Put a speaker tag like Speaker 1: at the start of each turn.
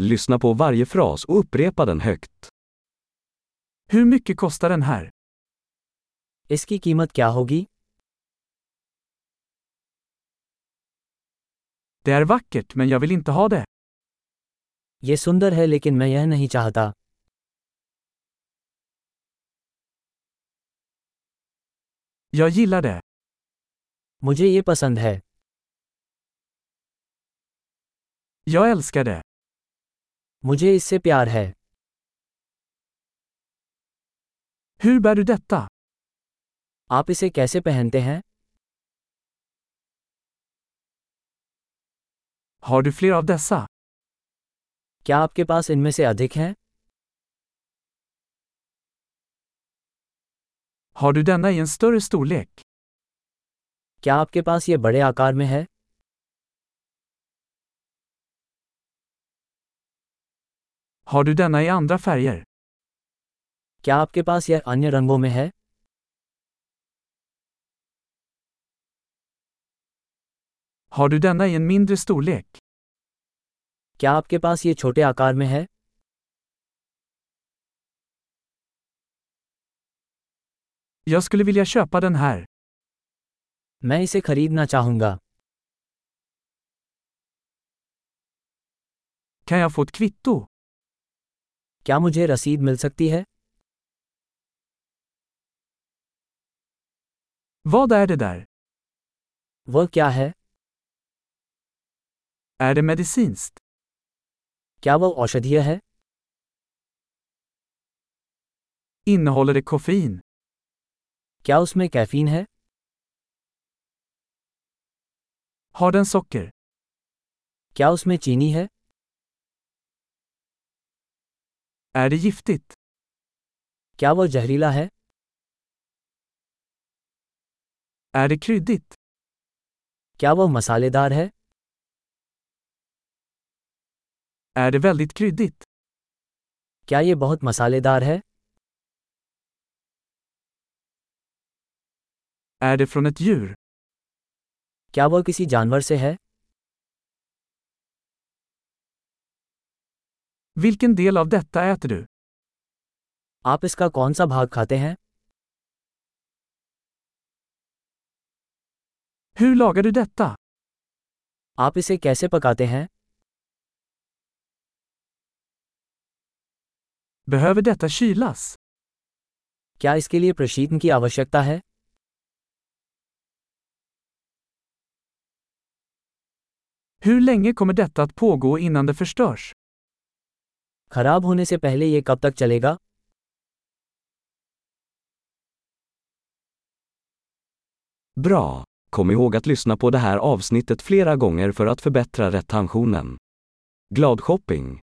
Speaker 1: Lyssna på varje fras och upprepa den högt.
Speaker 2: Hur mycket kostar den här?
Speaker 3: इसकी कीमत क्या होगी
Speaker 2: Det är vackert men jag vill inte ha det.
Speaker 3: ये सुंदर है लेकिन मैं यह नहीं चाहता
Speaker 2: Jag gillar det.
Speaker 3: मुझे ये पसंद है
Speaker 2: Jag älskar det.
Speaker 3: मुझे इससे प्यार है
Speaker 2: Hur bär du detta?
Speaker 3: आप इसे कैसे पहनते हैं
Speaker 2: Har du fler av dessa?
Speaker 3: क्या आपके पास इनमें से अधिक हैं
Speaker 2: Har du denna i en större storlek?
Speaker 3: क्या आपके पास ये बड़े आकार में है
Speaker 2: Har du denna i andra färger?
Speaker 3: क्या आपके पास यह अन्य रंगों में है
Speaker 2: Har du denna i en mindre storlek?
Speaker 3: क्या आपके पास ये छोटे आकार में है
Speaker 2: Jag skulle vilja köpa den här.
Speaker 3: मैं इसे खरीदना चाहूंगा
Speaker 2: Kan jag få ett kvitto?
Speaker 3: क्या मुझे रसीद मिल सकती है
Speaker 2: Vad är det där?
Speaker 3: वह क्या है
Speaker 2: Är det medicinskt?
Speaker 3: क्या वह औषधीय है
Speaker 2: Innehåller det koffein?
Speaker 3: क्या उसमें कैफीन है
Speaker 2: Har den socker?
Speaker 3: क्या उसमें चीनी है
Speaker 2: Är det giftigt?
Speaker 3: क्या वह जहरीला है
Speaker 2: Är det kryddigt?
Speaker 3: क्या वह मसालेदार है
Speaker 2: Är det väldigt kryddigt?
Speaker 3: क्या ये बहुत मसालेदार है
Speaker 2: Är det från ett djur?
Speaker 3: क्या वह किसी जानवर से है
Speaker 2: Vilken del av detta äter du?
Speaker 3: आप इसका कौन सा भाग खाते हैं
Speaker 2: Hur lagar du detta?
Speaker 3: आप इसे कैसे पकाते हैं
Speaker 2: Behöver detta kylas?
Speaker 3: क्या इसके लिए प्रशीतन की आवश्यकता है
Speaker 2: Hur länge kommer detta att pågå innan det förstörs?
Speaker 3: खराब होने से पहले ये कब तक चलेगा
Speaker 1: Bra! Kom ihåg att lyssna på det här avsnittet flera gånger för att förbättra retentionen. Glad shopping!